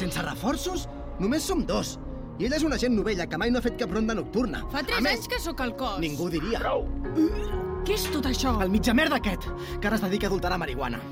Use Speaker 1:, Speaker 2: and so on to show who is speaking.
Speaker 1: Sense reforços? Només som dos. I ella és una gent novella que mai no ha fet cap ronda nocturna.
Speaker 2: Fa tres
Speaker 1: A més,
Speaker 2: anys que sóc al cos.
Speaker 1: Ningú diria. Prou!
Speaker 2: Què és tot això?
Speaker 1: El mitjamerda aquest, que ara es dedica a adulterar marihuana.